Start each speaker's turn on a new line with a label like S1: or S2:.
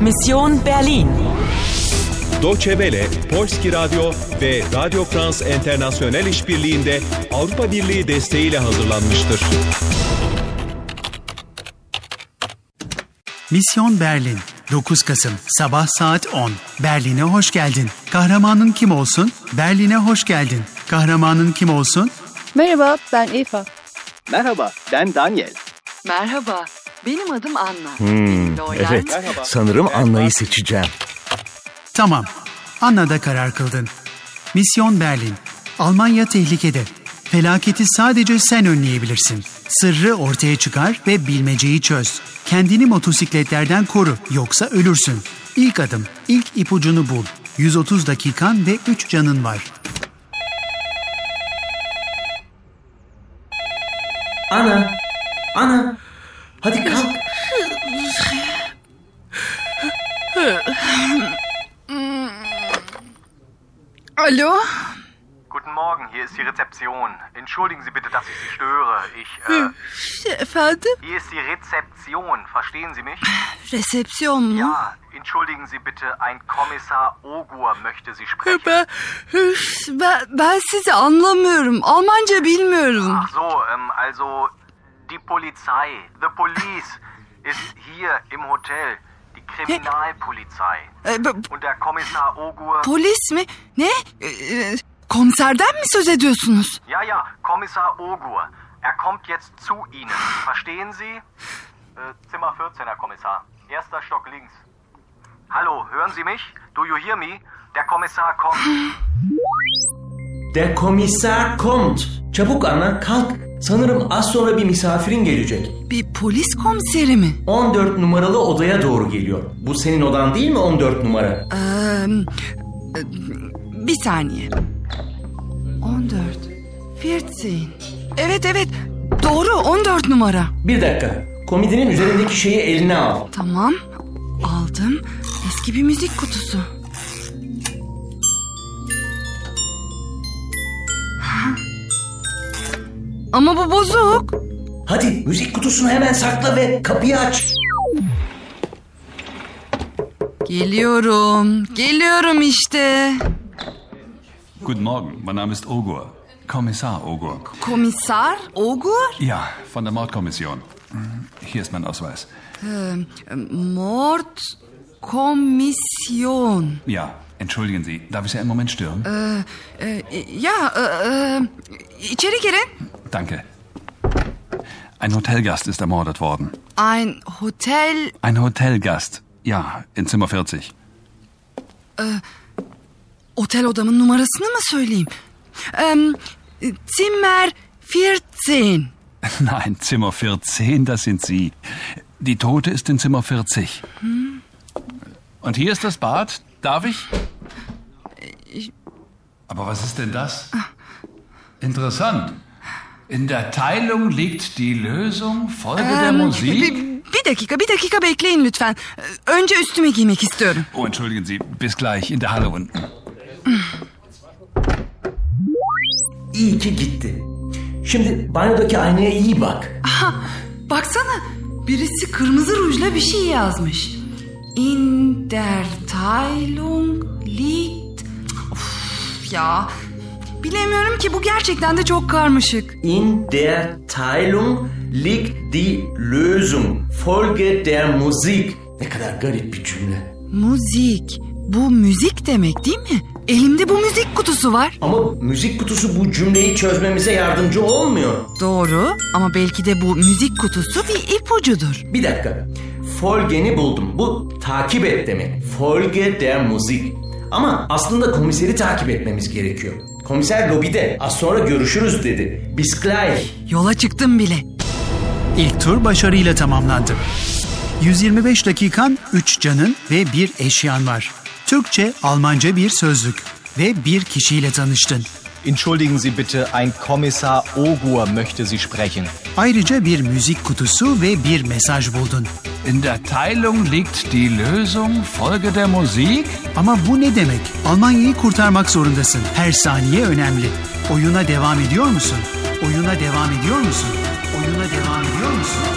S1: Mission Berlin.
S2: Deutsche Welle, Polski Radyo ve Radio France International işbirliğinde Avrupa Birliği desteğiyle hazırlanmıştır.
S3: Misyon Berlin 9 Kasım sabah saat 10 Berlin'e hoş geldin. Kahramanın kim olsun? Berlin'e hoş geldin. Kahramanın kim olsun?
S4: Merhaba, ben Eva.
S5: Merhaba, ben Daniel.
S6: Merhaba, benim adım Anna. Benimle oynar
S7: Evet,
S6: mısın?
S7: sanırım Anna'yı seçeceğim.
S3: Tamam. Anna da karar kıldın. Misyon Berlin. Almanya tehlikede. Felaketi sadece sen önleyebilirsin. Sırrı ortaya çıkar ve bilmeceyi çöz. Kendini motosikletlerden koru yoksa ölürsün. İlk adım, ilk ipucunu bul. 130 dakikan ve 3 canın var.
S8: Ana! Ana! Hadi kalk.
S9: Hallo?
S10: Guten Morgen, hier ist die Rezeption. Entschuldigen Sie bitte, dass ich Sie störe. Ich, äh,
S9: Efendim?
S10: hier ist die Rezeption. Verstehen Sie mich?
S9: Resepsiyon mu?
S10: Ah, entschuldigen Sie bitte, ein Kommissar Ogur möchte Sie sprechen.
S9: Ben, üf, ben, ben sizi anlamıyorum. Almanca bilmiyorum.
S10: Ach so, ähm, also, die Polizei, the police, ist hier im Hotel. Die Kriminalpolizei.
S9: E, b- b-
S10: Und der Kommissar Ogur...
S9: Polis mi? Ne? E, e, Komiserden mi söz ediyorsunuz?
S10: Ja, ja, Kommissar Ogur. Er kommt jetzt zu Ihnen. Verstehen Sie? Äh, Zimmer 14, Herr Kommissar. Erster Stock links. Hallo, hören Sie mich? Do you hear me? Der Kommissar kommt.
S8: Der Kommissar kommt. Çabuk Ana, kalk. Sanırım az sonra bir misafirin gelecek.
S9: Bir polis komiseri mi?
S8: 14 numaralı odaya doğru geliyor. Bu senin odan değil mi 14 numara?
S9: Ee, e, bir saniye. 14. 14. Evet evet. Doğru 14 numara.
S8: Bir dakika. Komidinin üzerindeki şeyi eline al.
S9: Tamam. Aldım. Eski bir müzik kutusu. Ama bu bozuk.
S8: Hadi müzik kutusunu hemen sakla ve kapıyı aç.
S9: Geliyorum. Geliyorum işte.
S11: Guten Morgen, mein Name ist Ogur. Kommissar Ogur.
S9: Komiser Ogur.
S11: Ja, von der Mordkommission. Mhm. Hier ist mein Ausweis.
S9: Mord komisyon.
S11: Ja, entschuldigen Sie, darf ich Sie einen Moment stören?
S9: Ee, ya e, e, içeri girin.
S11: Danke. Ein Hotelgast ist ermordet worden.
S9: Ein Hotel
S11: Ein Hotelgast. Ja, in Zimmer 40.
S9: Otel odamın numarasını mı söyleyeyim? Em, Zimmer 14.
S11: Nein, Zimmer 14, das sind Sie. Die Tote ist in Zimmer 40. Und hier ist das Bad. Darf ich? Aber was ist denn das? Interessant. In der Teilung liegt die Lösung. Folge der
S9: Em,
S11: Musik.
S9: Bir, bir dakika, bir dakika bekleyin lütfen. Ee, Önce üstüme giymek istiyorum.
S11: Oh, entschuldigen Sie. Bis gleich in der Halle unten.
S8: İyi ki gitti. Şimdi banyodaki aynaya iyi bak.
S9: Baksana, birisi kırmızı rujla bir şey yazmış. In der Teilung liegt... Of ya, bilemiyorum ki bu gerçekten de çok karmaşık.
S8: In der Teilung liegt die Lösung. Folge der Musik. Ne kadar garip bir cümle.
S9: Müzik, bu müzik demek değil mi? Elimde bu müzik kutusu var.
S8: Ama müzik kutusu bu cümleyi çözmemize yardımcı olmuyor.
S9: Doğru ama belki de bu müzik kutusu bir ipucudur.
S8: Bir dakika. Folgen'i buldum. Bu takip et demek. Folge der Musik. Ama aslında komiseri takip etmemiz gerekiyor. Komiser lobide. Az sonra görüşürüz dedi. Bis gleich.
S9: Yola çıktım bile.
S3: İlk tur başarıyla tamamlandı. 125 dakikan, 3 canın ve bir eşyan var. Türkçe, Almanca bir sözlük ve bir kişiyle tanıştın.
S5: Entschuldigen Sie bitte, ein Kommissar Ogur möchte Sie sprechen.
S3: Ayrıca bir müzik kutusu ve bir mesaj buldun.
S11: In der Teilung liegt die Lösung. Folge der Musik.
S3: Ama bu ne demek? Almanya'yı kurtarmak zorundasın. Her saniye önemli. Oyuna devam ediyor musun? Oyuna devam ediyor musun? Oyuna devam ediyor musun?